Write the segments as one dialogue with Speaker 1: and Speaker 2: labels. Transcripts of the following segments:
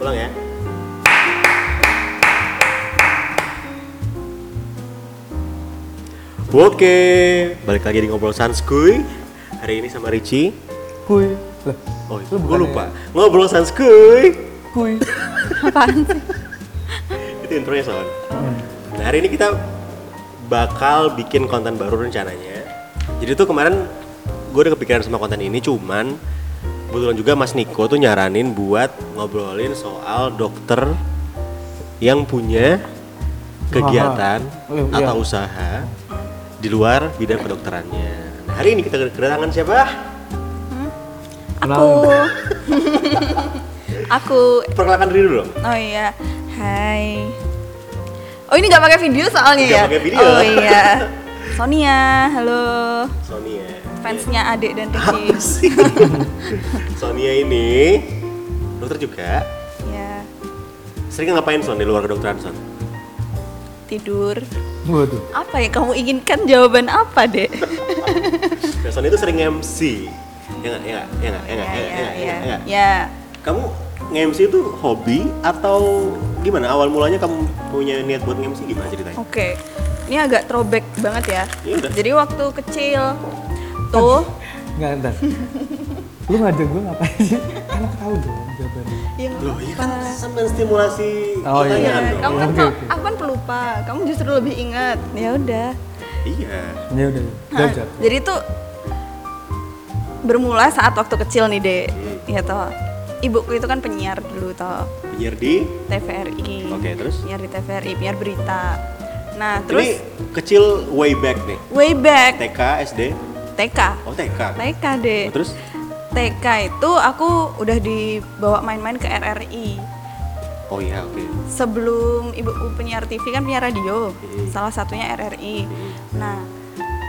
Speaker 1: ulang ya. Oke, balik lagi di ngobrol Sanskuy. Hari ini sama Ricci.
Speaker 2: Kuy. Lah,
Speaker 1: Oh,
Speaker 2: Lu
Speaker 1: gue
Speaker 2: bukannya-
Speaker 1: lupa. Ngobrol Sanskuy.
Speaker 2: kuy.
Speaker 3: Apaan sih?
Speaker 1: Itu intronya soalnya. Nah, hari ini kita bakal bikin konten baru rencananya. Jadi tuh kemarin gue udah kepikiran sama konten ini, cuman kebetulan juga Mas Niko tuh nyaranin buat ngobrolin soal dokter yang punya kegiatan
Speaker 2: Usaha. Eh, iya.
Speaker 1: atau usaha di luar bidang kedokterannya. Nah, hari ini kita kedatangan siapa?
Speaker 3: Aku. Aku.
Speaker 1: Perkenalkan diri dulu dong.
Speaker 3: Oh iya. Hai. Oh ini nggak pakai video soalnya
Speaker 1: Nggak
Speaker 3: ya?
Speaker 1: pakai video.
Speaker 3: Oh iya. Sonia, halo.
Speaker 1: Sonia.
Speaker 3: Fansnya Adik dan
Speaker 1: Apa
Speaker 3: Ricky.
Speaker 1: sih? Sonia ini dokter juga.
Speaker 3: Ya.
Speaker 1: Sering ngapain Son di luar kedokteran Son?
Speaker 3: Tidur.
Speaker 2: Waduh.
Speaker 3: Apa yang kamu inginkan jawaban apa, Dek?
Speaker 1: Nah, Son itu sering MC. Ya nggak, ya nggak, ya nggak, ya nggak, ya
Speaker 3: ya,
Speaker 1: nggak, ya
Speaker 3: ya,
Speaker 1: nggak, ya nggak.
Speaker 3: ya.
Speaker 1: Kamu nge-MC itu hobi atau gimana? Awal mulanya kamu punya niat buat nge-MC gimana ceritanya?
Speaker 3: Oke. Ini agak throwback banget ya.
Speaker 1: Ya udah.
Speaker 3: Jadi waktu kecil tuh
Speaker 2: Enggak entar. Lu ngajak gue ngapain sih? Enak tahu dong jawabannya.
Speaker 3: yang
Speaker 1: Loh, iya kan sambil stimulasi
Speaker 2: Oh, iya.
Speaker 1: pertanyaan
Speaker 3: Iya,
Speaker 1: dong.
Speaker 3: kamu kan
Speaker 2: Oke,
Speaker 3: pel-
Speaker 2: oke.
Speaker 3: aku kan pelupa, kamu justru lebih ingat. Ya udah.
Speaker 1: Iya.
Speaker 2: Ya udah,
Speaker 3: Nah,
Speaker 2: jajak.
Speaker 3: jadi tuh bermula saat waktu kecil nih dek,
Speaker 1: Hmm.
Speaker 3: ya toh. Ibuku itu kan penyiar dulu toh
Speaker 1: Penyiar di
Speaker 3: TVRI.
Speaker 1: Oke, terus?
Speaker 3: Penyiar di TVRI, penyiar berita. Nah
Speaker 1: ini
Speaker 3: terus
Speaker 1: kecil way back nih.
Speaker 3: way back
Speaker 1: TK, SD.
Speaker 3: TK,
Speaker 1: Oh, TK.
Speaker 3: TK deh.
Speaker 1: Oh, terus
Speaker 3: TK itu aku udah dibawa main-main ke RRI.
Speaker 1: Oh iya, oke.
Speaker 3: sebelum ibuku penyiar TV kan penyiar radio
Speaker 1: Hmm.
Speaker 3: salah satunya RRI nah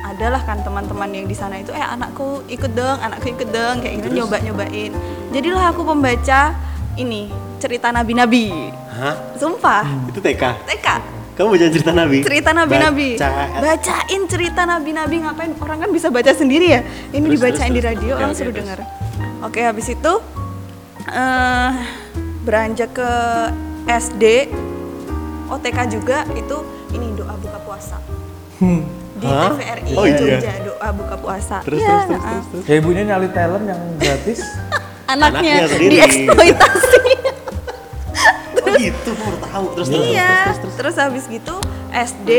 Speaker 3: adalah kan teman-teman yang di sana itu eh anakku ikut dong anakku ikut dong kayak
Speaker 1: Terus?
Speaker 3: gitu nyoba nyobain jadilah aku pembaca ini cerita nabi-nabi
Speaker 1: Hah?
Speaker 3: sumpah
Speaker 1: Itu TK.
Speaker 3: TK
Speaker 1: Kamu baca cerita Nabi?
Speaker 3: cerita nabi-nabi
Speaker 1: Baca.
Speaker 3: bacain cerita nabi-nabi ngapain orang kan bisa baca sendiri ya ini
Speaker 1: Terus, terus,
Speaker 3: dibacain di
Speaker 1: terus.
Speaker 3: radio
Speaker 1: Oke,
Speaker 3: orang
Speaker 1: oke,
Speaker 3: suruh
Speaker 1: terus.
Speaker 3: dengar oke habis itu eh beranjak ke SD OTK juga itu ini doa buka puasa
Speaker 2: Hmm.
Speaker 3: di
Speaker 1: Hah?
Speaker 3: TVRI
Speaker 1: Oh, iya.
Speaker 3: Jogja doa buka puasa
Speaker 1: Terus,
Speaker 3: Iya,
Speaker 1: terus, terus,
Speaker 3: nah,
Speaker 1: terus, terus.
Speaker 2: Ya ibunya nyali talent yang gratis.
Speaker 3: anaknya,
Speaker 1: Anaknya sendiri.
Speaker 3: dieksploitasi
Speaker 1: Oh gitu, baru tahu. Terus, terus, terus,
Speaker 3: iya
Speaker 1: terus, terus.
Speaker 3: terus habis gitu SD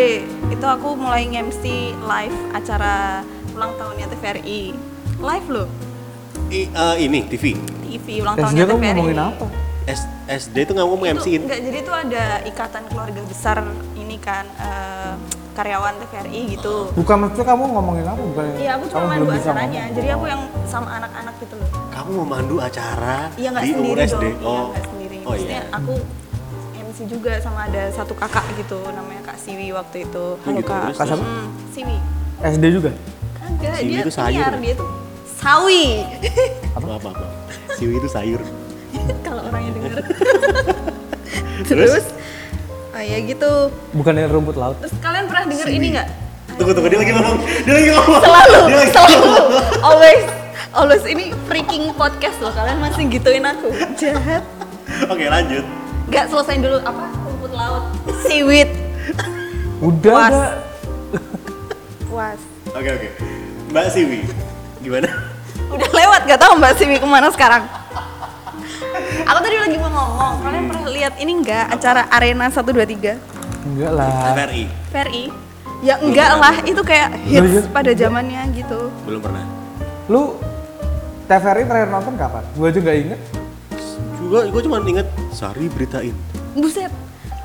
Speaker 3: itu aku mulai MC live acara ulang tahunnya TVRI live loh
Speaker 1: I- eh, ini TV.
Speaker 3: TV ulang
Speaker 2: Dan dia
Speaker 3: tahunnya
Speaker 2: kamu
Speaker 3: TVRI
Speaker 2: ngomongin apa?
Speaker 1: S SD itu nggak mau
Speaker 3: Itu-
Speaker 1: MC in.
Speaker 3: enggak, jadi itu ada ikatan keluarga besar ini kan eh, karyawan TVRI gitu
Speaker 2: Bukan maksudnya kamu ngomongin apa? Bukan.
Speaker 3: iya aku
Speaker 2: kamu
Speaker 3: cuma main
Speaker 2: belum
Speaker 3: dua
Speaker 2: bisa
Speaker 3: acaranya
Speaker 2: ngomong.
Speaker 3: jadi aku yang sama anak-anak gitu loh
Speaker 1: Kamu memandu acara
Speaker 3: iya nggak
Speaker 1: di umur
Speaker 3: sendiri
Speaker 1: SD.
Speaker 3: dong iya
Speaker 1: oh.
Speaker 3: nggak sendiri
Speaker 1: oh
Speaker 3: maksudnya
Speaker 1: iya.
Speaker 3: aku MC juga sama ada satu kakak gitu namanya Kak Siwi waktu itu
Speaker 1: Oh, gitu,
Speaker 3: Kak
Speaker 1: terus,
Speaker 2: Kak siapa?
Speaker 3: Hmm, Siwi
Speaker 2: SD juga.
Speaker 3: kagak
Speaker 1: Siwi
Speaker 3: dia
Speaker 1: itu sayur.
Speaker 3: penyiar, dia tuh sawi
Speaker 1: Apa apa apa. Siwi itu sayur.
Speaker 3: kalau orangnya denger
Speaker 1: Terus?
Speaker 3: terus oh ya gitu
Speaker 2: Bukan dari rumput laut.
Speaker 3: terus kalian pernah denger ini nggak
Speaker 1: Tunggu tunggu dia lagi ngomong. Dia lagi ngomong.
Speaker 3: selalu
Speaker 1: Dia lagi
Speaker 3: selalu always always ini freaking podcast loh kalian masih gituin aku jahat
Speaker 1: Oke lanjut.
Speaker 3: nggak selesain dulu apa rumput laut siwit
Speaker 2: Udah
Speaker 3: Was.
Speaker 2: ada.
Speaker 3: was
Speaker 1: Oke oke. Mbak Siwi, gimana?
Speaker 3: udah lewat gak tahu mbak Siwi kemana sekarang aku tadi lagi mau ngomong kalian pernah lihat ini nggak acara arena 123
Speaker 2: Enggak lah.
Speaker 1: TVRI
Speaker 3: PRI ya enggak lah itu kayak
Speaker 2: Loh,
Speaker 3: hits
Speaker 2: iya.
Speaker 3: pada zamannya gitu
Speaker 1: belum pernah.
Speaker 2: Lu TVRI terakhir nonton kapan? Gue aja nggak inget.
Speaker 1: Juga gue cuma inget Sari beritain.
Speaker 3: buset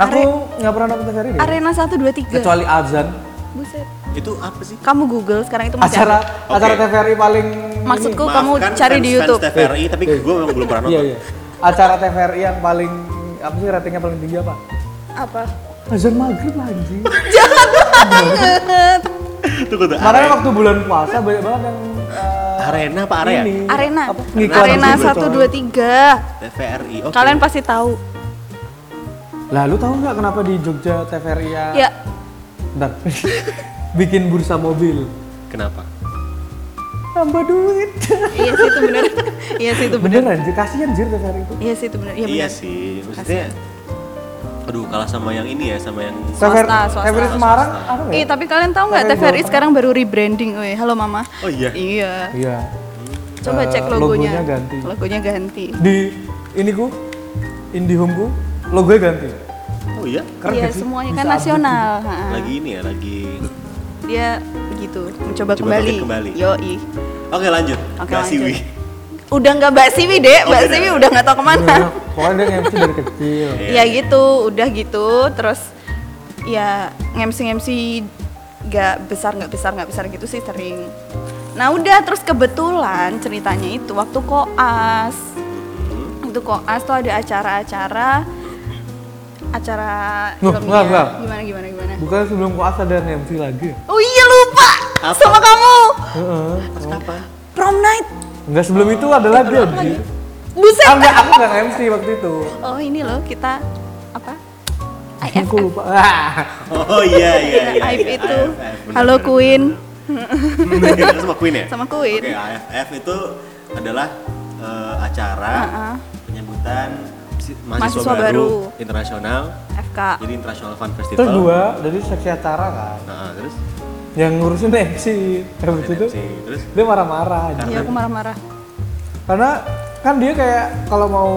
Speaker 2: Aku
Speaker 3: Are-
Speaker 2: nggak pernah nonton TVRI deh.
Speaker 3: arena 123
Speaker 2: Kecuali Azan.
Speaker 3: buset
Speaker 1: Itu apa sih?
Speaker 3: kamu google sekarang itu masih
Speaker 2: Acara
Speaker 3: ada.
Speaker 1: Oke.
Speaker 2: acara TVRI paling
Speaker 3: maksudku
Speaker 1: Maaf,
Speaker 3: kamu
Speaker 1: kan
Speaker 3: cari
Speaker 1: fans-
Speaker 3: di
Speaker 1: fans
Speaker 3: YouTube
Speaker 1: TVRI tapi gue memang belum pernah
Speaker 2: Iya
Speaker 1: nonton.
Speaker 2: iya. Acara TVRI yang paling apa sih ratingnya paling tinggi apa?
Speaker 3: apa
Speaker 2: Azan maghrib lagi.
Speaker 3: banget
Speaker 1: Tunggu tuh.
Speaker 2: Makanya
Speaker 1: Arena,
Speaker 2: waktu bulan puasa banyak banget yang eh,
Speaker 1: arena apa area?
Speaker 2: ini.
Speaker 3: arena
Speaker 2: Apa, ngikut
Speaker 3: arena
Speaker 2: orang
Speaker 3: satu dua tiga
Speaker 1: TVRI. Oke.
Speaker 3: kalian pasti tahu
Speaker 2: Lah lu tahu nggak kenapa di Jogja TVRI ya?
Speaker 3: ya
Speaker 2: Bentar. bikin bursa mobil.
Speaker 1: Kenapa?
Speaker 2: tambah duit
Speaker 3: iya sih itu bener iya sih itu bener
Speaker 2: beneran Jir kasihan Jir dasar itu
Speaker 3: iya sih itu bener iya
Speaker 1: iya
Speaker 3: bener
Speaker 1: sih maksudnya aduh kalah sama yang ini ya sama yang
Speaker 2: Tefer-
Speaker 3: swasta.
Speaker 2: Teferis Semarang apa nggak
Speaker 3: Ih,
Speaker 2: ya?
Speaker 3: tapi kalian tahu nggak
Speaker 2: Tari
Speaker 3: TVRI
Speaker 2: Jawa
Speaker 3: sekarang baru rebranding, weh. Halo mama.
Speaker 1: oh iya
Speaker 3: Iya.
Speaker 2: iya
Speaker 3: Coba
Speaker 2: Eh,
Speaker 3: cek logonya.
Speaker 2: logonya ganti.
Speaker 3: Logonya ganti.
Speaker 2: di ini ku Indihome ku logonya ganti
Speaker 1: oh iya
Speaker 2: Keren
Speaker 3: Iya,
Speaker 2: nggak sih?
Speaker 3: semuanya
Speaker 2: Bisa
Speaker 3: kan
Speaker 2: update
Speaker 3: nasional. ha-ha.
Speaker 1: lagi ini ya lagi
Speaker 3: Dia begitu, mencoba
Speaker 1: Coba
Speaker 3: kembali.
Speaker 1: bangkit kembali.
Speaker 3: Yoi.
Speaker 1: oke lanjut
Speaker 3: Oke,
Speaker 1: Mbak Siwi
Speaker 3: lanjut. Udah nggak Mbak Siwi, Dek.
Speaker 1: Oh,
Speaker 3: Mbak
Speaker 1: beda.
Speaker 3: Siwi udah nggak tahu kemana.
Speaker 2: Bener, pokoknya dia MC dari kecil
Speaker 1: Iya.
Speaker 3: ya gitu, udah gitu. Terus ya ngemsi-ngemsi nggak besar nggak besar nggak besar gitu sih sering. Nah udah terus kebetulan ceritanya itu waktu koas itu koas tuh ada acara-acara acara
Speaker 2: Loh,
Speaker 3: ilmiah.
Speaker 2: bentar, bentar.
Speaker 3: gimana gimana gimana
Speaker 2: bukan sebelum kuasa dan MC lagi ya?
Speaker 3: Oh iya lupa
Speaker 1: Apa?
Speaker 3: sama kamu.
Speaker 2: Heeh.
Speaker 1: apa
Speaker 3: Prom night.
Speaker 2: Enggak sebelum itu adalah dia Jir
Speaker 3: Buset.
Speaker 2: ah, enggak, aku enggak MC waktu itu
Speaker 3: Oh ini loh kita apa? IF.
Speaker 2: aku lupa ah.
Speaker 1: oh iya iya iya
Speaker 3: IF
Speaker 1: iya,
Speaker 3: itu.
Speaker 1: AF, bener,
Speaker 3: Halo
Speaker 1: bener,
Speaker 3: Queen.
Speaker 1: bener. Kita sama Queen ya
Speaker 3: Sama Queen.
Speaker 1: oke AFF itu adalah eh, acara
Speaker 3: Ha-ha.
Speaker 1: penyebutan si- mahasiswa,
Speaker 3: Mahasiswa
Speaker 1: baru,
Speaker 3: baru. Ah.
Speaker 1: internasional
Speaker 3: FK.
Speaker 1: jadi international fan
Speaker 2: terus
Speaker 1: festival
Speaker 2: gua dari seksi acara kan
Speaker 1: nah terus
Speaker 2: yang ngurusin MC habis itu
Speaker 1: NFC. terus
Speaker 2: dia marah-marah aja
Speaker 3: Iya aku marah-marah.
Speaker 2: karena kan dia kayak kalau mau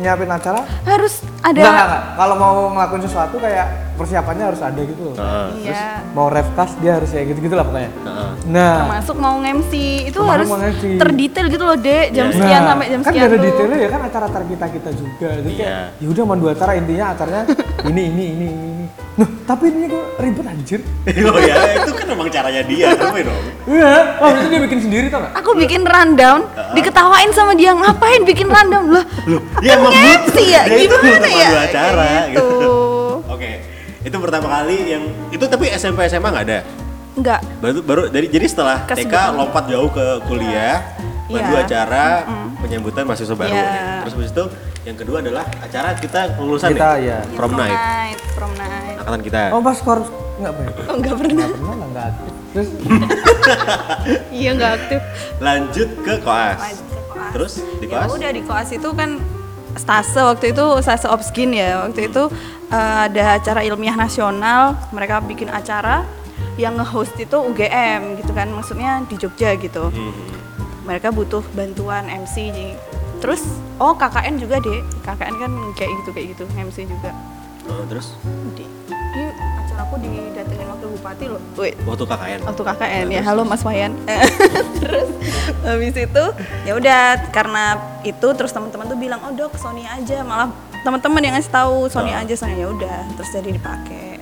Speaker 2: nyiapin acara
Speaker 3: Harus
Speaker 2: enggak, enggak,
Speaker 3: ada.
Speaker 2: enggak. kalau mau ngelakuin sesuatu kayak persiapannya harus ada gitu loh
Speaker 1: Nah,
Speaker 3: Iya.
Speaker 2: mau refcast dia harus kayak gitu-gitu lah pokoknya
Speaker 1: nah,
Speaker 2: nah
Speaker 3: Termasuk mau ngemsi itu
Speaker 2: Termasuk
Speaker 3: harus
Speaker 2: mau nge-MC.
Speaker 3: terdetail gitu loh dek jam
Speaker 1: Iya, iya.
Speaker 3: sekian sampai jam
Speaker 2: kan
Speaker 3: sekian
Speaker 2: gak ada
Speaker 3: tuh.
Speaker 2: detailnya ya kan acara acara kita kita juga jadi kayak
Speaker 1: Iya.
Speaker 2: ya udah mau dua acara intinya acaranya ini ini ini ini ini Nuh, tapi ini kok ribet anjir
Speaker 1: oh ya itu kan emang caranya dia kenapa ya, dong
Speaker 2: iya waktu itu dia bikin sendiri tau gak
Speaker 3: Aku bikin rundown, diketawain sama dia ngapain bikin rundown loh.
Speaker 1: Loh, ya
Speaker 3: Kan
Speaker 1: emang
Speaker 3: nge-MC
Speaker 1: gitu.
Speaker 3: ya,
Speaker 1: Ya, itu
Speaker 3: gimana
Speaker 1: pertama
Speaker 3: ya?
Speaker 1: dua acara,
Speaker 3: Kayak
Speaker 1: gitu.
Speaker 3: gitu.
Speaker 1: oke itu pertama kali yang itu tapi SMP SMA nggak ada
Speaker 3: Enggak,
Speaker 1: baru baru dari jadi setelah
Speaker 3: Ke
Speaker 1: TK
Speaker 3: sebelum.
Speaker 1: lompat jauh ke kuliah baru
Speaker 3: Iya.
Speaker 1: acara penyambutan mahasiswa baru
Speaker 3: Iya.
Speaker 1: ya. terus habis itu yang kedua adalah acara kita kelulusan
Speaker 2: Kita,
Speaker 1: nih
Speaker 2: ya.
Speaker 3: iya.
Speaker 1: prom night
Speaker 3: prom night.
Speaker 1: angkatan kita
Speaker 2: oh pas skor nggak pernah
Speaker 3: Oh, enggak pernah.
Speaker 2: pernah lah nggak aktif. terus
Speaker 3: iya, enggak aktif.
Speaker 1: lanjut ke koas
Speaker 3: Lanjut ke koas.
Speaker 1: terus di
Speaker 3: Ya
Speaker 1: koas
Speaker 3: udah di koas itu kan stase waktu itu stase obskin ya. Waktu itu eh, ada acara ilmiah nasional, mereka bikin acara yang nge-host itu UGM gitu kan, maksudnya di Jogja gitu.
Speaker 1: Hmm.
Speaker 3: Mereka butuh bantuan MC. jadi- Terus oh KKN juga, Dek. KKN kan kayak gitu kayak gitu, MC juga.
Speaker 1: Oh, terus
Speaker 3: Dek, ini acara aku didatengin wakil bupati loh. Wih,
Speaker 1: waktu KKN
Speaker 3: waktu KKN ya halo Mas Wayan terus habis itu ya udah karena itu terus teman-teman tuh bilang oh dok Sony aja malah teman-teman yang ngasih tahu Sony
Speaker 1: Nah.
Speaker 3: aja Sony ya udah terus jadi dipakai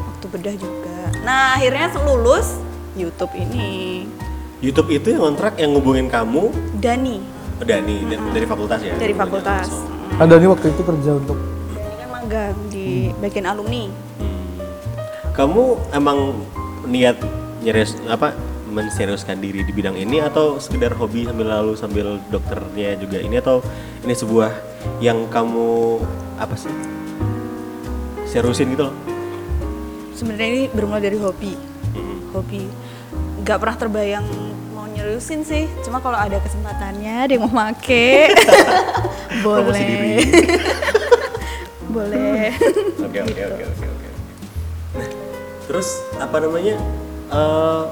Speaker 3: waktu bedah juga nah akhirnya lulus YouTube ini
Speaker 1: YouTube itu yang kontrak yang ngubungin kamu
Speaker 3: Dani
Speaker 1: oh, Dani dan- dari fakultas ya
Speaker 3: dari
Speaker 1: Ngubungin
Speaker 3: fakultas
Speaker 1: langsung.
Speaker 2: ada nih waktu itu kerja untuk
Speaker 3: ini kan magang di bagian alumni
Speaker 1: kamu emang niat nyerius apa menseriuskan diri di bidang ini atau sekedar hobi sambil lalu sambil dokternya juga ini atau ini sebuah yang kamu apa sih seriusin gitu loh
Speaker 3: sebenarnya ini bermula dari hobi
Speaker 1: Hmm.
Speaker 3: hobi nggak pernah terbayang mau nyeriusin sih cuma kalau ada kesempatannya dia mau make
Speaker 1: Promosi diri.
Speaker 3: boleh boleh
Speaker 1: oke oke oke oke oke Nah, terus apa namanya eh,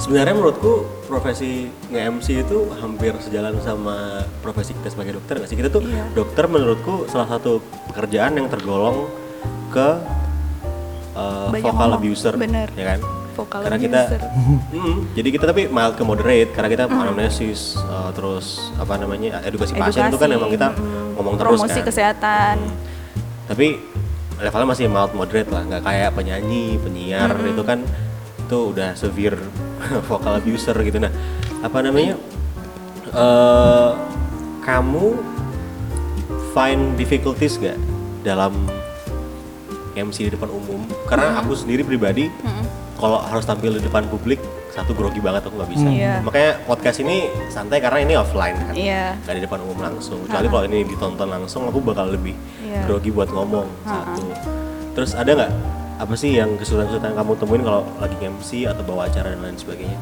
Speaker 1: sebenarnya menurutku profesi nge-MC itu hampir sejalan sama profesi kita sebagai dokter nggak sih kita tuh
Speaker 3: Iya.
Speaker 1: dokter menurutku salah satu pekerjaan yang tergolong ke eh,
Speaker 3: Banyak
Speaker 1: vocal
Speaker 3: ngomong.
Speaker 1: abuser
Speaker 3: Bener.
Speaker 1: ya kan
Speaker 3: Vocal
Speaker 1: karena
Speaker 3: abuser.
Speaker 1: kita Mm, jadi kita tapi mild ke moderate karena kita anamnesis eh, terus apa namanya edukasi, pasien itu kan
Speaker 3: Edukasi,
Speaker 1: emang kita
Speaker 3: mm-mm.
Speaker 1: ngomong terus
Speaker 3: promosi
Speaker 1: kan
Speaker 3: kesehatan
Speaker 1: tapi levelnya masih mild moderate lah nggak kayak penyanyi penyiar itu kan itu udah severe vocal abuser gitu nah apa namanya eh kamu find difficulties gak dalam MC di depan umum karena aku sendiri pribadi kalau harus tampil di depan publik satu grogi banget aku nggak bisa
Speaker 3: Iya.
Speaker 1: makanya podcast ini santai karena ini offline kan
Speaker 3: iya
Speaker 1: nggak di depan umum langsung kecuali kalau ini ditonton langsung aku bakal lebih
Speaker 3: Iya.
Speaker 1: grogi buat ngomong satu terus ada nggak apa sih yang kesulitan-kesulitan yang kamu temuin kalau lagi MC atau bawa acara dan lain sebagainya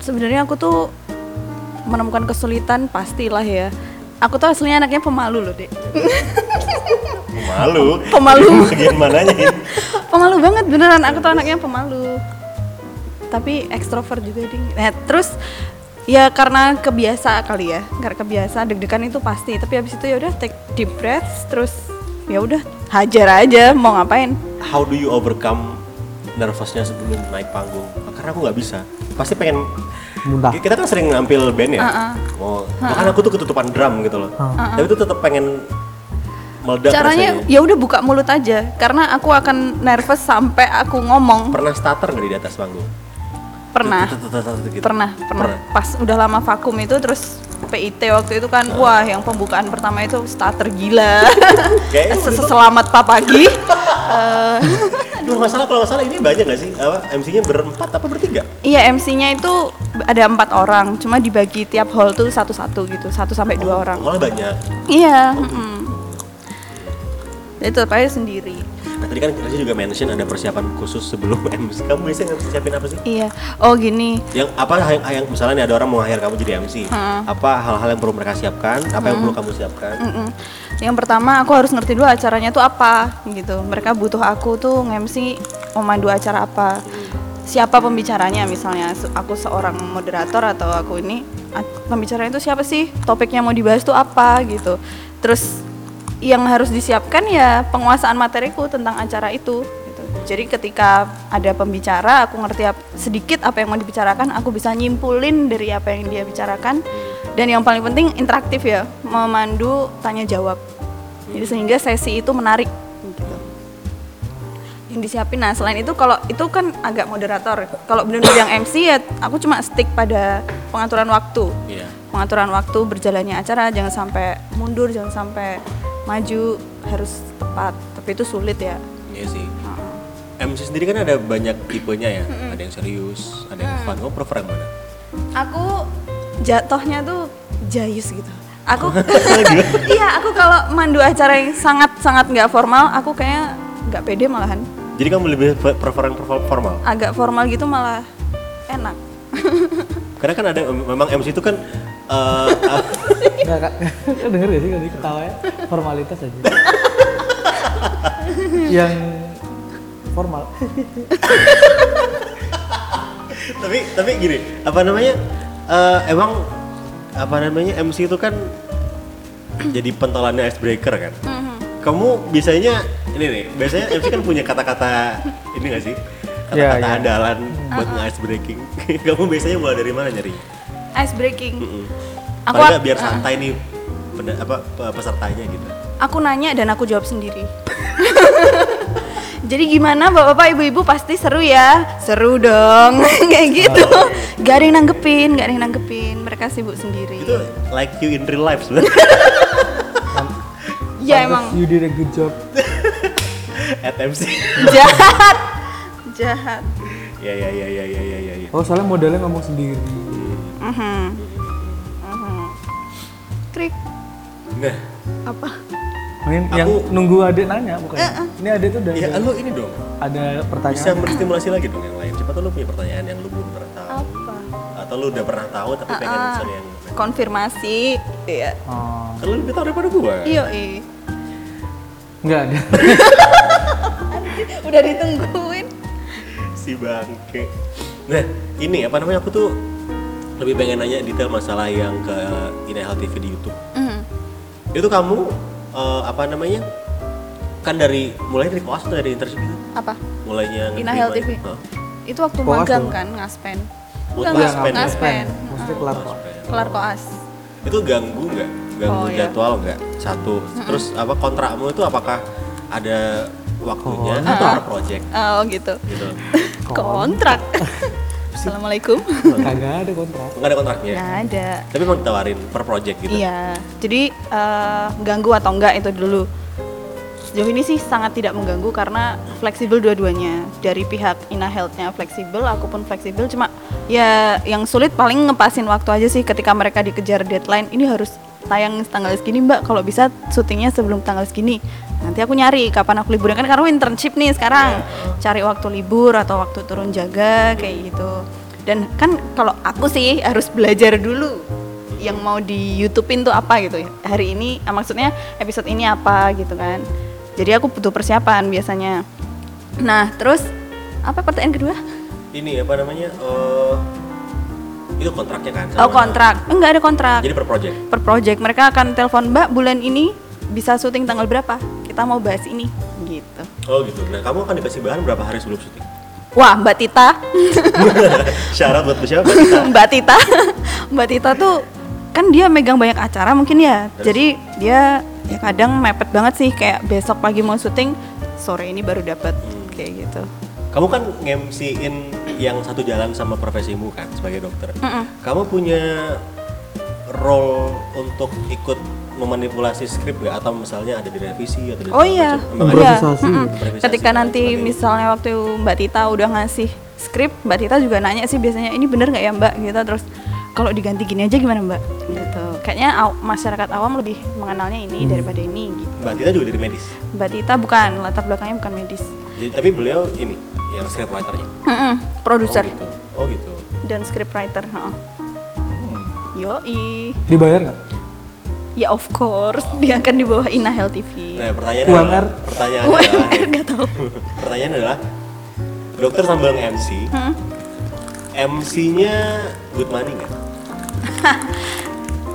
Speaker 3: sebenarnya aku tuh menemukan kesulitan pastilah ya. Aku tuh aslinya anaknya pemalu loh, Dek.
Speaker 1: Malu.
Speaker 3: Pemalu.
Speaker 1: Bagian mananya ini?
Speaker 3: pemalu banget beneran aku tuh anaknya pemalu tapi ekstrovert juga ding nah terus ya karena kebiasa kali ya karena kebiasa deg-degan itu pasti tapi habis itu ya udah take deep breath terus ya udah hajar aja mau ngapain
Speaker 1: How do you overcome nervousnya sebelum naik panggung? Karena aku nggak bisa. Pasti pengen
Speaker 2: Muntah.
Speaker 1: Kita kan sering nampil band ya. Oh, bahkan aku tuh ketutupan drum gitu loh. Tapi tuh tetap pengen meledak
Speaker 3: caranya
Speaker 1: rasanya.
Speaker 3: ya udah buka mulut aja karena aku akan nervous sampai aku ngomong
Speaker 1: Pernah starter nggak di atas panggung?
Speaker 3: pernah
Speaker 1: Gitu.
Speaker 3: Ah. pernah pernah pas udah lama vakum itu terus PIT waktu itu
Speaker 1: Ah.
Speaker 3: kan wah yang pembukaan pertama itu starter gila
Speaker 1: Kayaknya waktu itu-
Speaker 3: selamat pak pagi Eh,
Speaker 1: Aduh nggak salah kalau nggak salah ini banyak nggak sih? Apa MC-nya berempat apa bertiga?
Speaker 3: iya MC-nya itu ada empat orang cuma dibagi tiap hall tuh satu-satu gitu satu sampai dua orang
Speaker 1: Malah banyak.
Speaker 3: iya mm-mm. Jadi tetap aja sendiri
Speaker 1: Nah, tadi kan Reza juga mention ada persiapan khusus sebelum MC. Kamu biasanya siapin apa sih?
Speaker 3: iya oh gini
Speaker 1: Yang apa yang, yang misalnya nih ada orang mau hire kamu jadi MC, apa hal-hal yang perlu mereka siapkan? Apa yang perlu kamu siapkan?
Speaker 3: Mm-mm. Yang pertama aku harus ngerti dulu acaranya tuh apa gitu. Mereka butuh aku tuh nge-MC memandu acara apa. Siapa pembicaranya misalnya se- aku seorang moderator atau aku ini a- pembicaranya itu siapa sih? Topiknya mau dibahas tuh apa gitu. Terus yang harus disiapkan ya penguasaan materiku tentang acara itu gitu. Jadi ketika ada pembicara, aku ngerti ap- sedikit apa yang mau dibicarakan, aku bisa nyimpulin dari apa yang dia bicarakan. Dan yang paling penting interaktif ya, memandu tanya jawab. Jadi sehingga sesi itu menarik gitu. Yang disiapin nah selain itu kalau itu kan agak moderator. Kalau benar-benar yang MC ya aku cuma stick pada pengaturan waktu
Speaker 1: Iya.
Speaker 3: pengaturan waktu berjalannya acara jangan sampai mundur jangan sampai maju harus tepat tapi itu sulit ya
Speaker 1: Iya sih. MC sendiri kan ada banyak tipenya ya. Ada yang serius, ada
Speaker 3: Mm.
Speaker 1: yang fun. Kamu prefer yang mana?
Speaker 3: aku jatuhnya tuh jayus gitu aku iya aku kalau mandu acara yang sangat sangat nggak formal aku kayaknya nggak pede malahan
Speaker 1: Jadi kamu lebih fe- prefer yang perfor- formal?
Speaker 3: agak formal gitu malah enak
Speaker 1: Karena kan ada memang MC itu kan eh, ah,
Speaker 2: Enggak kak, Lo denger gak sih tadi ketawanya formalitas aja. yang formal.
Speaker 1: tapi tapi gini apa namanya eh, emang apa namanya MC itu kan jadi pentolannya icebreaker kan kamu biasanya ini nih biasanya MC kan punya kata-kata ini gak sih kata-kata
Speaker 2: Iya, iya.
Speaker 1: andalan buat nge-ice breaking kamu biasanya mulai dari mana nyari
Speaker 3: ice breaking
Speaker 1: Aku
Speaker 3: Aku-
Speaker 1: biar
Speaker 3: ah.
Speaker 1: santai nih penda- apa pe- pesertanya gitu
Speaker 3: aku nanya dan aku jawab sendiri. Jadi gimana bapak-bapak ibu-ibu pasti seru ya? Seru dong, kayak gitu. Gak ada yang nanggepin, gak ada yang nanggepin. Mereka sibuk
Speaker 1: itu
Speaker 3: sendiri.
Speaker 1: like you in real life sebenarnya
Speaker 3: Ya
Speaker 2: Pantes
Speaker 3: emang
Speaker 2: You did a good job.
Speaker 1: at MC
Speaker 3: jahat, jahat.
Speaker 1: ya ya ya ya ya ya ya, ya.
Speaker 2: Oh soalnya modelnya ngomong sendiri.
Speaker 3: Mhm. Mhm. Krik
Speaker 1: nah
Speaker 3: apa?
Speaker 2: Main
Speaker 1: Aku-
Speaker 2: yang nunggu adik nanya bukan? Ini adik tuh udah
Speaker 1: ya
Speaker 2: ada,
Speaker 1: lu ini dong
Speaker 2: ada
Speaker 1: bisa
Speaker 2: pertanyaan.
Speaker 1: menstimulasi lagi dong yang lain siapa tuh lu punya pertanyaan yang lu belum pernah tahu
Speaker 3: Apa? Ah,
Speaker 1: atau lu udah pernah tahu tapi pengen misalnya yang
Speaker 3: Konfirmasi, ya.
Speaker 2: Oh,
Speaker 1: kan lu lebih tahu daripada gua
Speaker 3: Iya, iya.
Speaker 2: enggak ada.
Speaker 3: Udah ditungguin.
Speaker 1: si bangke nah ini apa namanya aku tuh lebih pengen nanya detail masalah yang ke Inehal TV di YouTube
Speaker 3: Mhm.
Speaker 1: itu kamu eh, apa namanya kan dari mulai dari koas atau dari internship itu
Speaker 3: Apa?
Speaker 1: mulainya ngerti
Speaker 3: Inahel
Speaker 1: mulai-
Speaker 3: TV.
Speaker 1: Hah?
Speaker 3: Itu waktu
Speaker 2: Koas
Speaker 3: magang
Speaker 2: dong.
Speaker 3: kan, ngaspen.
Speaker 1: Oh,
Speaker 3: Enggak,
Speaker 1: ngaspen
Speaker 3: ngaspen.
Speaker 1: ya?
Speaker 3: ngaspen.
Speaker 2: Maksudnya kelar kok.
Speaker 3: Kelar koas.
Speaker 1: itu ganggu nggak ganggu
Speaker 3: Oh, iya.
Speaker 1: jadwal nggak satu terus apa kontrakmu itu apakah ada waktunya atau
Speaker 2: Kontrak.
Speaker 1: per project
Speaker 3: Oh gitu.
Speaker 1: gitu
Speaker 3: Kontrak. Assalamualaikum.
Speaker 2: Kagak ada kontrak.
Speaker 1: nggak ada kontraknya
Speaker 3: Nggak ada.
Speaker 1: tapi emang ditawarin per project gitu
Speaker 3: Nah. Iya. Jadi eh, ganggu atau enggak itu dulu. Sejauh ini sih sangat tidak mengganggu karena fleksibel dua-duanya. Dari pihak Ina Health-nya fleksibel, aku pun fleksibel. Cuma ya yang sulit paling ngepasin waktu aja sih ketika mereka dikejar deadline. Ini harus tayang tanggal segini mbak. Kalau bisa syutingnya sebelum tanggal segini. Nanti aku nyari kapan aku liburan kan karena aku internship nih sekarang. Cari waktu libur atau waktu turun jaga kayak gitu. dan kan kalau aku sih harus belajar dulu yang mau di YouTube-in tuh apa gitu ya. Hari ini ah, maksudnya episode ini apa gitu kan. Jadi aku butuh persiapan biasanya. Nah, terus apa pertanyaan kedua?
Speaker 1: Ini apa namanya? eh, itu kontraknya kan?
Speaker 3: Oh,
Speaker 1: sama-
Speaker 3: kontrak. Enggak ada kontrak.
Speaker 1: Jadi per project.
Speaker 3: per project mereka akan telepon Mbak bulan ini bisa syuting tanggal berapa kita mau bahas ini gitu
Speaker 1: Oh gitu. Nah kamu akan dikasih bahan berapa hari sebelum syuting?
Speaker 3: wah Mbak Tita
Speaker 1: Syarat buat siapa?
Speaker 3: Mbak Tita Mbak Tita tuh kan dia megang banyak acara mungkin ya
Speaker 1: Terus?
Speaker 3: jadi dia ya kadang mepet banget sih kayak besok pagi mau syuting sore ini baru dapat kayak gitu
Speaker 1: Kamu kan ngemsiin yang satu jalan sama profesimu kan sebagai dokter. Kamu punya role untuk ikut memanipulasi skrip nggak? Atau misalnya ada di revisi atau di
Speaker 3: Oh iya,
Speaker 1: Emang ada?
Speaker 3: iya.
Speaker 2: Improvisasi.
Speaker 3: Mm-mm.
Speaker 1: Improvisasi gitu?
Speaker 3: Ketika
Speaker 1: dan
Speaker 3: nanti
Speaker 1: sebagainya.
Speaker 3: misalnya waktu Mbak Tita udah ngasih skrip, Mbak Tita juga nanya sih biasanya ini bener nggak ya Mbak gitu. Terus kalau diganti gini aja gimana Mbak? Gitu. Kayaknya aw- masyarakat awam lebih mengenalnya ini daripada ini. Gitu.
Speaker 1: Mbak Tita juga dari medis.
Speaker 3: Mbak Tita bukan latar belakangnya bukan medis,
Speaker 1: Jadi, tapi beliau ini yang script writernya.
Speaker 3: Mm-mm, produser
Speaker 1: Oh gitu. Oh gitu.
Speaker 3: dan script writer. heeh.
Speaker 1: Hmm.
Speaker 3: Yoi,
Speaker 2: Dibayar nggak?
Speaker 3: ya of course dia akan di bawah Inahel TV.
Speaker 1: Nah pertanyaan
Speaker 2: UMR.
Speaker 1: adalah, pertanyaan adalah,
Speaker 3: UMR nggak tahu.
Speaker 1: pertanyaan adalah dokter sambil nge-MC,
Speaker 3: Mm.
Speaker 1: MC-nya good money nggak?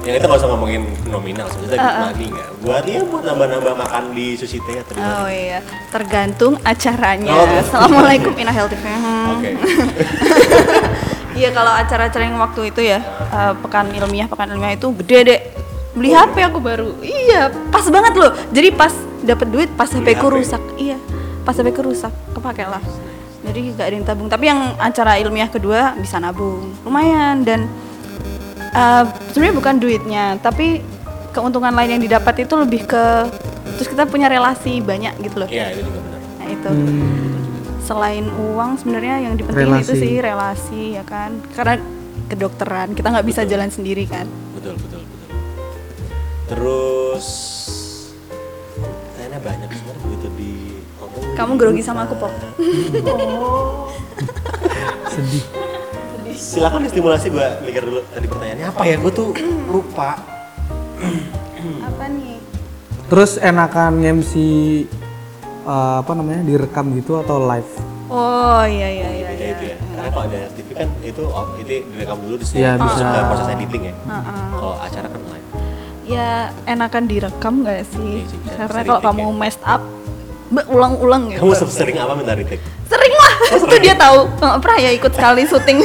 Speaker 1: ya kita nggak usah ngomongin nominal, sebenarnya good
Speaker 3: Uh-uh.
Speaker 1: money nggak? Buat dia buat nambah-nambah makan di sushi teh atau di mana?
Speaker 3: Oh iya, tergantung acaranya.
Speaker 1: Oh, tergantung.
Speaker 3: Assalamualaikum Ina Health TV. Hmm.
Speaker 1: Oke.
Speaker 3: Iya kalau acara-acara yang waktu itu ya eh, pekan ilmiah pekan ilmiah itu gede deh. Beli HP aku baru. Iya, pas banget loh. Jadi pas dapet duit pas HP
Speaker 1: Beli
Speaker 3: ku
Speaker 1: HP.
Speaker 3: rusak. Iya, pas HP ku rusak, kepake lah. Jadi gak ada yang tabung. Tapi yang acara ilmiah kedua bisa nabung, lumayan dan eh, sebenarnya bukan duitnya, tapi keuntungan lain yang didapat itu lebih ke terus kita punya relasi banyak gitu loh.
Speaker 1: Iya itu juga benar.
Speaker 3: Nah, itu
Speaker 1: Hmm.
Speaker 3: selain uang sebenarnya yang dipentingin itu
Speaker 2: Relasi.
Speaker 3: sih relasi ya kan. Karena kedokteran kita nggak bisa jalan sendiri kan.
Speaker 1: Betul betul betul. Terus pertanyaannya banyak sebenarnya begitu di ngomong,
Speaker 3: Kamu
Speaker 1: jadi
Speaker 3: grogi
Speaker 1: lupa.
Speaker 3: sama aku, Pop.
Speaker 2: Sedih.
Speaker 1: Silakan distimulasi gue mikir dulu tadi pertanyaannya apa ya? Gue tuh lupa. Hmm.
Speaker 3: Apa nih?
Speaker 2: Terus enakan MC eh, apa namanya direkam gitu atau live?
Speaker 3: Oh iya iya iya.
Speaker 1: Beda
Speaker 3: iya.
Speaker 1: itu ya. Karena kalau ada TV kan itu oh, itu direkam dulu di
Speaker 2: Iya,
Speaker 1: terus
Speaker 2: bisa.
Speaker 1: ada proses editing ya.
Speaker 3: Heeh.
Speaker 1: Kalau acara kan live.
Speaker 3: Ya enakan direkam nggak sih?
Speaker 1: Iya sih, bisa-
Speaker 3: Karena
Speaker 1: bisa
Speaker 3: kalau
Speaker 1: di-take
Speaker 3: kamu
Speaker 1: ya.
Speaker 3: messed up berulang-ulang gitu.
Speaker 1: Kamu sering apa minta retake?
Speaker 3: Oh, sering lah itu dia tahu Nggak pernah ya ikut sekali syuting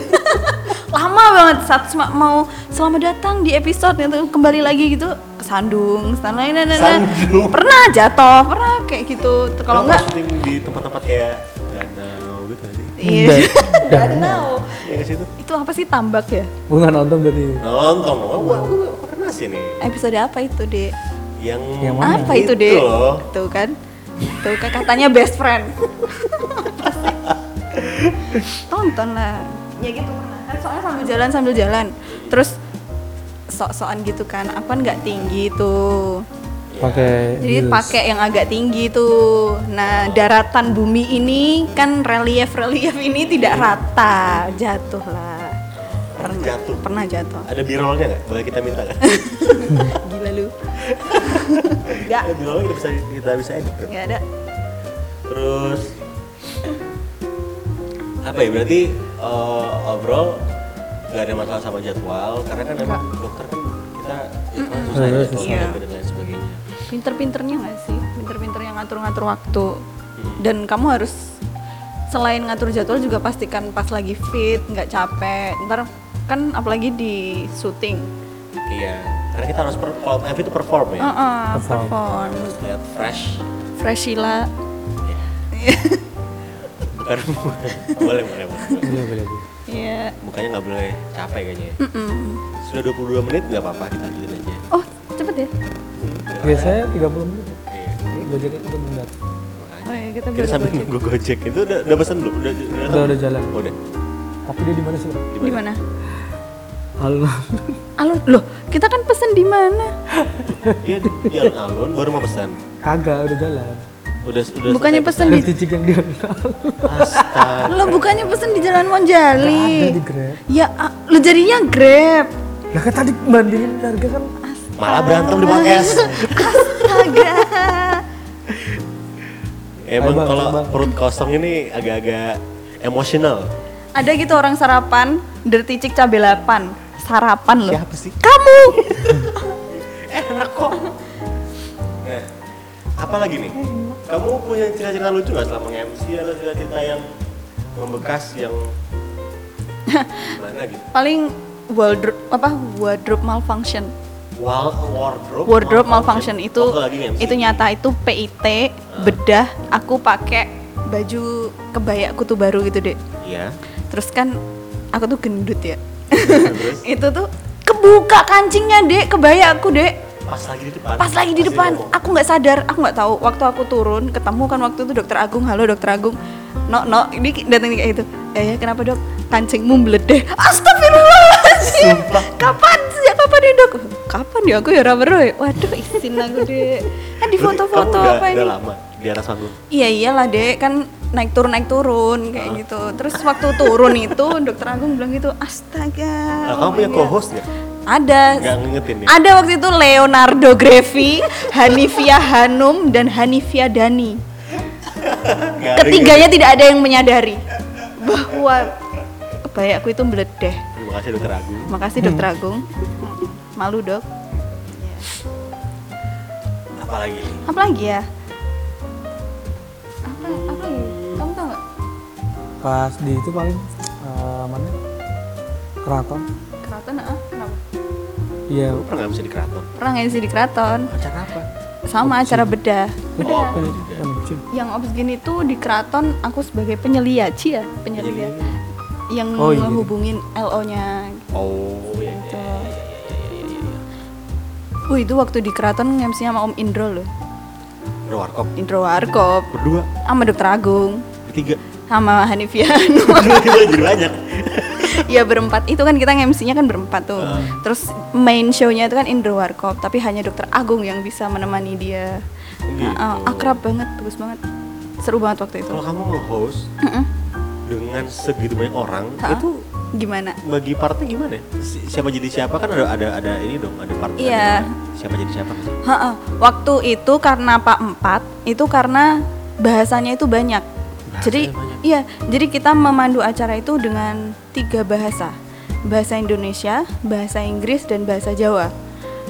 Speaker 3: lama banget saat cuma mau selamat datang di episode itu kembali lagi gitu kesandung nah, dan lain-lain
Speaker 1: Kesandung.
Speaker 3: pernah jatuh pernah kayak gitu Ter- kalau enggak
Speaker 1: syuting di tempat-tempat kayak danau gitu nggak sih.
Speaker 3: iya
Speaker 2: Dan-
Speaker 3: nggak tahu
Speaker 1: Ya ke situ.
Speaker 3: itu apa sih tambak ya
Speaker 2: Gue nggak nonton berarti.
Speaker 1: Nonton, oh, gua gua gua pernah sih nih.
Speaker 3: episode apa itu deh
Speaker 1: Yang, gitu
Speaker 2: Yang mana?
Speaker 3: apa itu deh
Speaker 1: loh.
Speaker 3: tuh kan tuh kan katanya best friend Apa sih? tonton lah ya gitu pernah kan soalnya sambil jalan sambil jalan terus sok-sokan gitu kan aku kan nggak tinggi tuh
Speaker 2: Pakai.
Speaker 3: jadi
Speaker 2: heels.
Speaker 3: pakai yang agak tinggi tuh nah daratan bumi ini kan relief relief ini tidak rata jatuh lah
Speaker 1: Pernah jatuh.
Speaker 3: pernah jatuh
Speaker 1: Ada birolnya nggak? Boleh kita minta kan?
Speaker 3: gila lu nggak
Speaker 1: Ada birolnya kita bisa kita bisa edit. kan?
Speaker 3: nggak ada
Speaker 1: Terus apa ya berarti eh, overall nggak ada masalah sama jadwal karena kan emang dokter kan kita ya, kan susah ya, jadwal
Speaker 3: Iya.
Speaker 1: dan lain sebagainya.
Speaker 3: pinter-pinternya nggak sih pinter-pinter yang ngatur-ngatur waktu dan kamu harus selain ngatur jadwal juga pastikan pas lagi fit nggak capek ntar kan apalagi di syuting
Speaker 1: Iya, karena kita harus perform, MV itu perform ya.
Speaker 3: Heeh,
Speaker 2: Perform.
Speaker 3: perform
Speaker 1: Harus lihat fresh.
Speaker 3: Freshila
Speaker 1: Ya. Bukan boleh boleh boleh. boleh.
Speaker 2: Boleh, boleh, boleh.
Speaker 3: ya
Speaker 1: Mukanya nggak boleh capek kayaknya. ya. Sudah 22 menit nggak apa-apa kita lanjutin aja.
Speaker 3: oh cepet ya
Speaker 2: Biasanya 30 menit.
Speaker 1: Iya.
Speaker 2: Gue jadi itu benar.
Speaker 1: makanya.
Speaker 3: oh ya kita
Speaker 1: Kita
Speaker 3: baru
Speaker 1: sambil
Speaker 3: Gojek.
Speaker 1: nunggu gojek itu udah udah pesan belum? Udah udah,
Speaker 2: Udah, udah jalan.
Speaker 1: Udah.
Speaker 2: Tapi dia di mana sih? Bang?
Speaker 3: di mana
Speaker 2: Halo.
Speaker 3: alun loh kita kan pesen di mana
Speaker 1: Iya, di alun-alun baru mau pesan.
Speaker 2: Kagak udah jalan.
Speaker 1: Udah udah
Speaker 3: Bukannya
Speaker 1: selesai
Speaker 3: pesen
Speaker 2: Dan
Speaker 3: di
Speaker 2: cicik yang diambil
Speaker 1: Astaga.
Speaker 3: lo bukannya pesen di Jalan
Speaker 2: Nggak ada
Speaker 3: Monjali.
Speaker 2: di Grab.
Speaker 3: Ya ah, lo jadinya Grab.
Speaker 2: Lah kan tadi bandingin harga kan
Speaker 1: Malah berantem di podcast.
Speaker 3: Astaga.
Speaker 1: Emang
Speaker 2: Ayo, Bang,
Speaker 1: kalau
Speaker 2: Bang.
Speaker 1: perut kosong ini agak-agak emosional.
Speaker 3: Ada gitu orang sarapan, dirty chick cabe 8. Sarapan loh.
Speaker 1: Siapa sih?
Speaker 3: Kamu.
Speaker 1: Enak Eh, kok. Nah, apa lagi nih? Kamu punya cerita-cerita lucu nggak selama nge-MC atau cerita-cerita yang membekas yang mana gitu?
Speaker 3: Paling wardrobe apa wardrobe malfunction.
Speaker 1: Wall wardrobe.
Speaker 3: Wardrobe malfunction itu
Speaker 1: Waktu lagi nge-MC.
Speaker 3: itu nyata itu PIT bedah aku pakai baju kebaya kutu baru gitu, Dek.
Speaker 1: Iya.
Speaker 3: Terus kan aku tuh gendut ya.
Speaker 1: Terus
Speaker 3: itu tuh kebuka kancingnya, Dek, kebaya aku, Dek.
Speaker 1: pas lagi di depan.
Speaker 3: pas lagi di depan
Speaker 1: ngomong.
Speaker 3: aku nggak sadar aku nggak tahu waktu aku turun ketemu kan waktu itu dokter Agung halo dokter Agung no no ini datang kayak gitu eh kenapa dok kancingmu meledeh astagfirullahaladzim kapan sih kapan ya dok kapan ya aku ya rubber ya waduh izin aku dek kan
Speaker 1: Berarti
Speaker 3: di foto-foto
Speaker 1: kamu udah-
Speaker 3: apa ini
Speaker 1: Udah lama di atas panggung.
Speaker 3: iya iyalah dek kan naik turun naik turun kayak gitu terus waktu turun itu dokter Agung bilang gitu astaga
Speaker 1: Nah, kamu punya
Speaker 3: oh my God."
Speaker 1: co-host nggak?
Speaker 3: ada
Speaker 1: Nggak ngingetin ya?
Speaker 3: ada waktu itu Leonardo Grevi, Hanifia Hanum, dan Hanifia Dani.
Speaker 1: Nggak ngingetin.
Speaker 3: Ketiganya tidak ada yang menyadari bahwa kebaya aku itu meledeh.
Speaker 1: Terima kasih dokter Agung.
Speaker 3: Makasih dokter
Speaker 2: Hmm.
Speaker 3: Agung. Malu dok.
Speaker 1: Apa lagi?
Speaker 3: Apa lagi ya? Apa, apa lagi? Kamu tahu nggak?
Speaker 2: pas di itu paling eh, mana? Keraton.
Speaker 3: Keraton ah? Kenapa?
Speaker 2: Iya.
Speaker 1: Lu pernah nggak bisa di keraton?
Speaker 3: Pernah nggak sih di keraton?
Speaker 1: Acara apa?
Speaker 3: Sama acara bedah. Iya.
Speaker 1: Oh,
Speaker 2: Kan-
Speaker 1: juga.
Speaker 2: kan lucu.
Speaker 3: Yang obsgin itu di keraton aku sebagai penyelia, cia penyelia yang
Speaker 2: Oh, iya.
Speaker 3: menghubungin LO-nya
Speaker 1: Oh, iya. iya.
Speaker 3: Wih itu waktu di keraton nge sama Om Indro loh
Speaker 1: Ada warkop.
Speaker 3: Indro Warkop
Speaker 1: Berdua,
Speaker 3: Sama Dokter Agung
Speaker 1: bertiga.
Speaker 3: Sama Hanifian
Speaker 1: Tiba-tiba jadi banyak.
Speaker 3: Ya berempat Itu kan kita nge-MC-nya kan berempat tuh Terus main show-nya itu kan Indro Warkop Tapi hanya Dokter Agung yang bisa menemani dia
Speaker 1: Gitu.
Speaker 3: Ah, ah, Akrab banget, bagus banget Seru banget waktu itu
Speaker 1: Kalau kamu nge-host
Speaker 3: Mm-mm.
Speaker 1: dengan segitu banyak orang,
Speaker 3: Ha-ha.
Speaker 1: itu
Speaker 3: Gimana?
Speaker 1: bagi partnya gimana? ya? Si- Siapa jadi siapa kan ada ada ada ini dong, ada part.
Speaker 3: Iya.
Speaker 1: ada- Siapa jadi siapa? kan? sih?
Speaker 3: Ha-ha. Waktu itu karena Pak Empat itu karena bahasanya itu banyak. jadi
Speaker 1: banyak.
Speaker 3: iya, jadi kita memandu acara itu dengan tiga bahasa. Bahasa Indonesia, bahasa Inggris dan bahasa Jawa.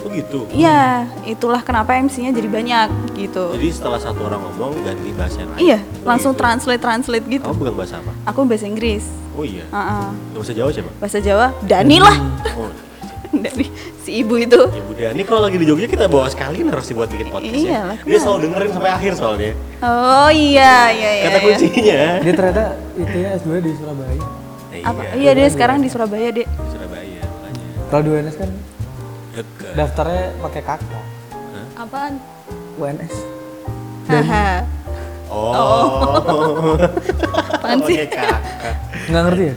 Speaker 1: Oh gitu.
Speaker 3: Iya, itulah kenapa MC-nya jadi banyak gitu.
Speaker 1: Jadi setelah satu orang ngomong ganti bahasa yang lain.
Speaker 3: Iya,
Speaker 1: Oh,
Speaker 3: langsung
Speaker 1: gitu.
Speaker 3: translate-translate gitu.
Speaker 1: Kamu pegang bahasa apa?
Speaker 3: Aku bahasa Inggris.
Speaker 1: Oh iya.
Speaker 3: Ha-ha.
Speaker 1: Gak usah jauh siapa?
Speaker 3: Bahasa Jawa, Dani lah.
Speaker 1: Oh.
Speaker 3: Dari si ibu itu.
Speaker 1: Ya Bunda, ini kalau lagi di Jogja kita bawa sekali harus dibuat bikin podcast
Speaker 3: Iya lah,
Speaker 1: ya. Dia selalu dengerin sampai akhir soalnya.
Speaker 3: Oh iya, iya iya.
Speaker 1: Kata
Speaker 3: iya.
Speaker 1: kuncinya.
Speaker 2: Dia ternyata itu ya S2 di Surabaya.
Speaker 1: Eh,
Speaker 3: Apa? Iya, dia sekarang di Surabaya, Dek.
Speaker 1: Di Surabaya makanya.
Speaker 2: Kalau di UNS kan
Speaker 1: Dekat.
Speaker 2: daftarnya pakai kakak.
Speaker 3: Apaan?
Speaker 2: UNS.
Speaker 3: Haha.
Speaker 1: Oh.
Speaker 3: Apaan sih?
Speaker 1: Oke, kakak.
Speaker 2: Nggak ngerti ya?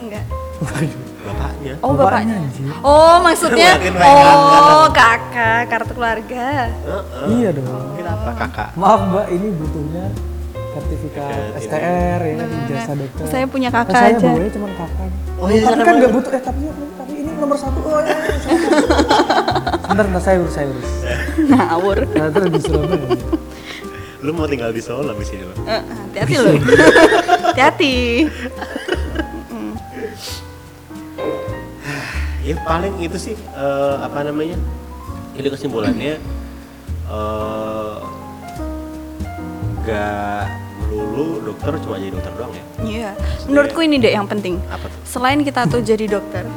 Speaker 3: Enggak.
Speaker 2: Waduh.
Speaker 1: Bapaknya.
Speaker 3: Oh, bapaknya.
Speaker 2: anjir.
Speaker 3: Oh, maksudnya
Speaker 1: Makin banyak
Speaker 3: oh, kakak, kartu keluarga.
Speaker 1: Heeh.
Speaker 2: Iya dong.
Speaker 1: Kenapa kakak?
Speaker 2: Maaf mbak, ini butuhnya sertifikat
Speaker 1: Sertifikat
Speaker 2: STR ya kan,
Speaker 3: Bener.
Speaker 2: ijazah dokter.
Speaker 3: Saya punya
Speaker 2: Nah,
Speaker 3: kakak
Speaker 2: saya
Speaker 3: aja.
Speaker 2: bawanya cuma kakak.
Speaker 1: Oh, iya,
Speaker 2: tapi
Speaker 1: sana
Speaker 2: kan
Speaker 1: boleh.
Speaker 2: nggak butuh. Eh tapi, tapi ini nomor satu. Oh iya. iya, satu. Bentar, bentar saya urus, saya urus.
Speaker 3: Ngawur.
Speaker 2: Ternyata lebih Surabaya.
Speaker 1: Lu mau tinggal di Solo abis ini lo?
Speaker 3: Eh, Hati-hati loh. Hati-hati.
Speaker 1: Ya paling itu sih eh, apa namanya? Jadi kesimpulannya eh gak melulu dokter cuma jadi dokter doang ya.
Speaker 3: Iya. Menurutku ini Dek yang penting.
Speaker 1: Apa tuh?
Speaker 3: Selain kita tuh jadi dokter,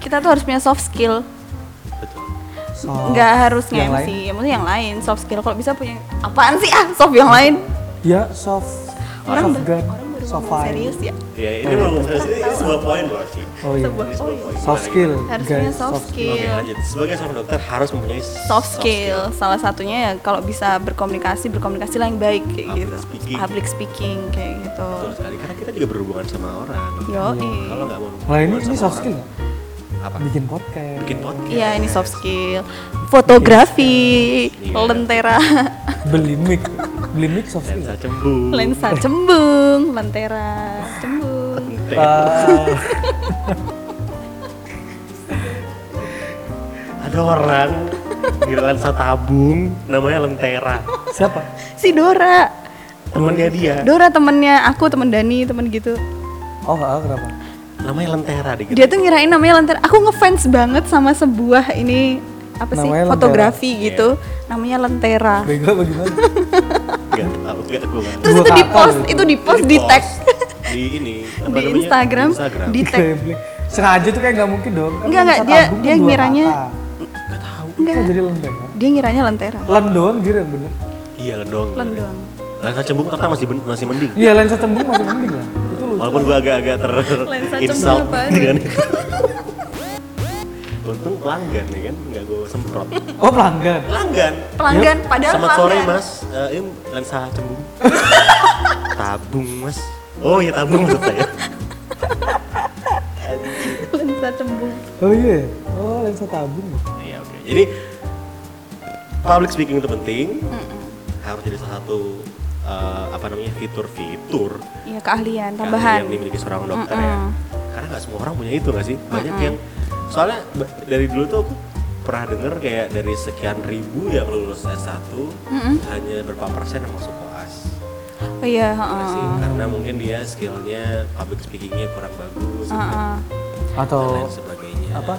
Speaker 3: kita tuh harus punya soft skill.
Speaker 1: Betul.
Speaker 2: So,
Speaker 3: Nggak harus
Speaker 2: yang
Speaker 3: nge-MC,
Speaker 2: lain?
Speaker 3: ya, maksudnya yang lain, soft skill. Kalau bisa punya apaan sih ah, soft yang lain?
Speaker 2: Ya soft,
Speaker 3: Orang
Speaker 2: soft
Speaker 3: ba-
Speaker 2: gun,
Speaker 3: orang baru
Speaker 2: soft
Speaker 3: ngomong
Speaker 2: fire.
Speaker 3: serius ya.
Speaker 1: Ya ini belum ini sebuah poin loh sih.
Speaker 2: Oh iya.
Speaker 3: Sebuah- oh iya.
Speaker 2: Soft skill,
Speaker 3: Harus punya
Speaker 2: guys.
Speaker 3: soft,
Speaker 1: Oke
Speaker 3: skill.
Speaker 1: lanjut. Sebagai seorang dokter harus mempunyai
Speaker 3: soft skill salah satunya ya kalau bisa berkomunikasi berkomunikasi lah yang baik kayak
Speaker 1: Public
Speaker 3: gitu
Speaker 1: speaking.
Speaker 3: public speaking kayak gitu
Speaker 1: Betul sekali. Karena kita juga berhubungan sama orang.
Speaker 3: yo iya.
Speaker 1: Kalau nggak mau
Speaker 2: Lah Iya. Nah, ini
Speaker 1: berhubungan
Speaker 2: ini
Speaker 1: sama
Speaker 2: soft
Speaker 1: orang,
Speaker 2: skill nggak?
Speaker 1: Apa?
Speaker 2: Bikin podcast.
Speaker 1: Bikin podcast.
Speaker 3: iya ini soft skill fotografi
Speaker 1: Iya.
Speaker 3: lentera
Speaker 2: Beli mic. Blin Week Soft Skill.
Speaker 1: lensa cembung
Speaker 3: lensa cembung, lentera cembung.
Speaker 1: ya?
Speaker 2: Eh,
Speaker 1: ada orang di lensa tabung namanya lentera
Speaker 2: siapa?
Speaker 3: Si Dora.
Speaker 1: temennya dia
Speaker 3: Dora temennya aku, temen Dani, temen gitu.
Speaker 2: Oh, nggak tahu kenapa?
Speaker 1: namanya lentera dikit
Speaker 3: Dia tuh ngirain namanya lentera. Aku ngefans banget sama sebuah ini apa sih
Speaker 2: Namanya Lentera.
Speaker 3: fotografi gitu. Namanya lentera.
Speaker 2: Bego bagaimana?
Speaker 1: Gak tau, gak gue gak
Speaker 3: Terus
Speaker 2: Dua
Speaker 3: itu di
Speaker 2: kakak
Speaker 3: post,
Speaker 2: gitu.
Speaker 3: itu di post, di
Speaker 1: Di-post.
Speaker 3: tag
Speaker 1: Di ini, apa
Speaker 3: di
Speaker 1: namanya?
Speaker 3: Instagram,
Speaker 1: Instagram.
Speaker 3: di tag.
Speaker 2: Sengaja tuh kayak nggak mungkin dong. Kan
Speaker 3: Nggak, nggak,
Speaker 2: lensa
Speaker 3: dia-
Speaker 2: tabung
Speaker 3: dia
Speaker 2: kan dua
Speaker 3: ngiranya-
Speaker 2: mata. Kok
Speaker 3: Enggak,
Speaker 2: jadi lendeng? ya?
Speaker 3: dia ngiranya lentera.
Speaker 2: Lem doang gitu bener.
Speaker 1: Iya, lendong.
Speaker 3: Lendong.
Speaker 1: Lensa cembung apa masih ben- masih mending.
Speaker 2: Iya lensa tembung masih mending lah. Itu lucu.
Speaker 1: Walaupun gue agak-agak ter
Speaker 3: Lensa cembung
Speaker 1: insult
Speaker 3: apaan?
Speaker 1: dengan itu. Untung pelanggan ya kan, nggak gue semprot.
Speaker 2: Oh pelanggan.
Speaker 1: Pelanggan.
Speaker 3: Pelanggan, padahal
Speaker 1: Selamat sore
Speaker 3: pelanggan.
Speaker 1: mas, Eh, ini lensa cembung. tabung mas. Oh iya tabung maksud saya.
Speaker 3: Lensa cembung.
Speaker 2: Oh iya. Oh lensa tabung.
Speaker 1: Iya oke. Jadi public speaking itu penting. Harus jadi salah satu eh, apa namanya fitur-fitur
Speaker 3: Iya, keahlian
Speaker 1: keahlian iya,
Speaker 3: tambahan.
Speaker 1: yang dimiliki seorang dokter
Speaker 3: Mm-mm.
Speaker 1: ya. Karena nggak semua orang punya itu nggak sih? Banyak yang soalnya ba- dari dulu tuh aku pernah denger kayak dari sekian ribu yang lulus S1 hanya berapa persen yang masuk koas.
Speaker 3: Oh iya,
Speaker 1: Nggak
Speaker 3: heeh.
Speaker 1: sih? Karena mungkin dia skillnya public speakingnya kurang bagus
Speaker 3: Heeh.
Speaker 1: dan
Speaker 2: Atau
Speaker 1: lain sebagainya.
Speaker 2: apa?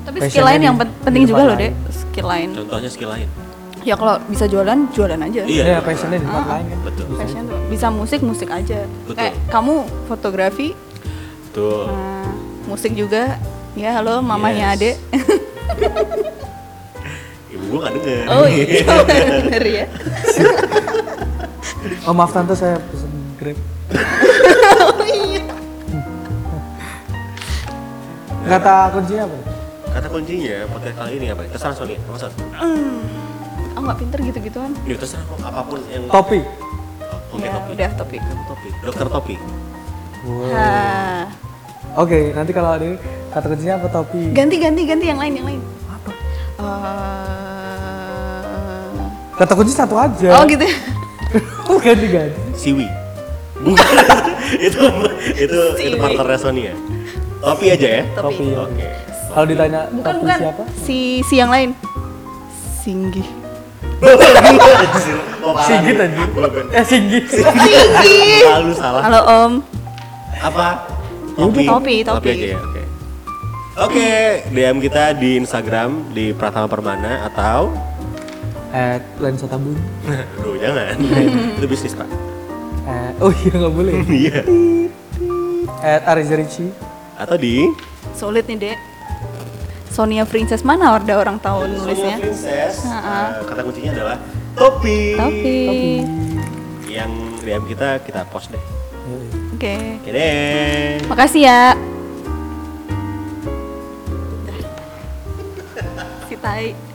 Speaker 3: Tapi
Speaker 2: Passionnya
Speaker 3: skill lain
Speaker 2: di-
Speaker 3: yang pen- penting
Speaker 2: di
Speaker 3: juga
Speaker 2: tempat
Speaker 3: loh, Dek.
Speaker 2: lain.
Speaker 3: Skill lain.
Speaker 1: Contohnya skill lain.
Speaker 3: Ya kalau bisa jualan, jualan aja.
Speaker 1: Iya.
Speaker 2: Iya passionnya di
Speaker 3: Ah.
Speaker 2: tempat lain kan.
Speaker 1: Betul.
Speaker 3: Passion tuh. Bisa musik, musik aja.
Speaker 1: Betul.
Speaker 3: Kayak kamu fotografi,
Speaker 1: Betul.
Speaker 3: nah, musik juga. Ya, halo mamanya Ade.
Speaker 1: Yes. Ibu gua nggak denger.
Speaker 3: Oh iya, bener ya.
Speaker 2: Oh maaf tante saya pesen grab.
Speaker 3: Oh iya.
Speaker 2: Kata kuncinya apa?
Speaker 1: Kata kuncinya podcast kali ini apa? Terserah Sony, apa Son?
Speaker 3: Mm. Aku nggak pinter gitu-gituan.
Speaker 1: Ya terserah kok, apapun yang
Speaker 2: Topi.
Speaker 1: Oh, Oke Oh.
Speaker 3: Ya,
Speaker 1: topi.
Speaker 3: udah topik.
Speaker 1: Kamu topi. Dokter topi.
Speaker 2: Wow.
Speaker 3: Ha.
Speaker 2: Oke nanti kalau ada kata kuncinya apa topi?
Speaker 3: Ganti, ganti, ganti yang lain, yang lain.
Speaker 2: Apa?
Speaker 3: Eh,
Speaker 2: Kata kunci satu aja.
Speaker 3: Oh gitu.
Speaker 2: Oh ganti-ganti.
Speaker 1: Siwi. Bukan. itu itu itu
Speaker 3: Siwi.
Speaker 1: partnernya Sony ya. Topi aja ya.
Speaker 3: Topi.
Speaker 2: Topi.
Speaker 1: Oke.
Speaker 2: Kalau ditanya
Speaker 3: Bukan
Speaker 2: topi
Speaker 3: bukan.
Speaker 2: siapa?
Speaker 3: Si si yang lain. Singgi.
Speaker 1: Anjir, kok parah
Speaker 2: Sigit
Speaker 1: nih.
Speaker 2: anjing.
Speaker 1: Gua bener.
Speaker 2: Eh Sigit.
Speaker 3: Singgi.
Speaker 1: Lalu salah.
Speaker 3: Halo Om.
Speaker 1: Apa? Topi.
Speaker 3: Topi, topi.
Speaker 1: aja ya. Oke. Oke, DM kita di Instagram di Pratama Permana atau
Speaker 2: Eh lensa tabung.
Speaker 1: Duh, jangan. itu bisnis, Pak.
Speaker 2: Eh, oh iya nggak boleh.
Speaker 1: Iya.
Speaker 2: At Ariza Ricci.
Speaker 1: Atau di
Speaker 3: Sulit nih, Dek. Sonia Princess mana ada orang tahu
Speaker 1: Sonia
Speaker 3: nulisnya?
Speaker 1: Princess. eh,
Speaker 3: Ha-ha.
Speaker 1: kata kuncinya adalah topi.
Speaker 3: Tapi.
Speaker 1: Yang DM kita kita post deh.
Speaker 2: Iya,
Speaker 3: Oke.
Speaker 1: Oke deh.
Speaker 3: Makasih ya. Kita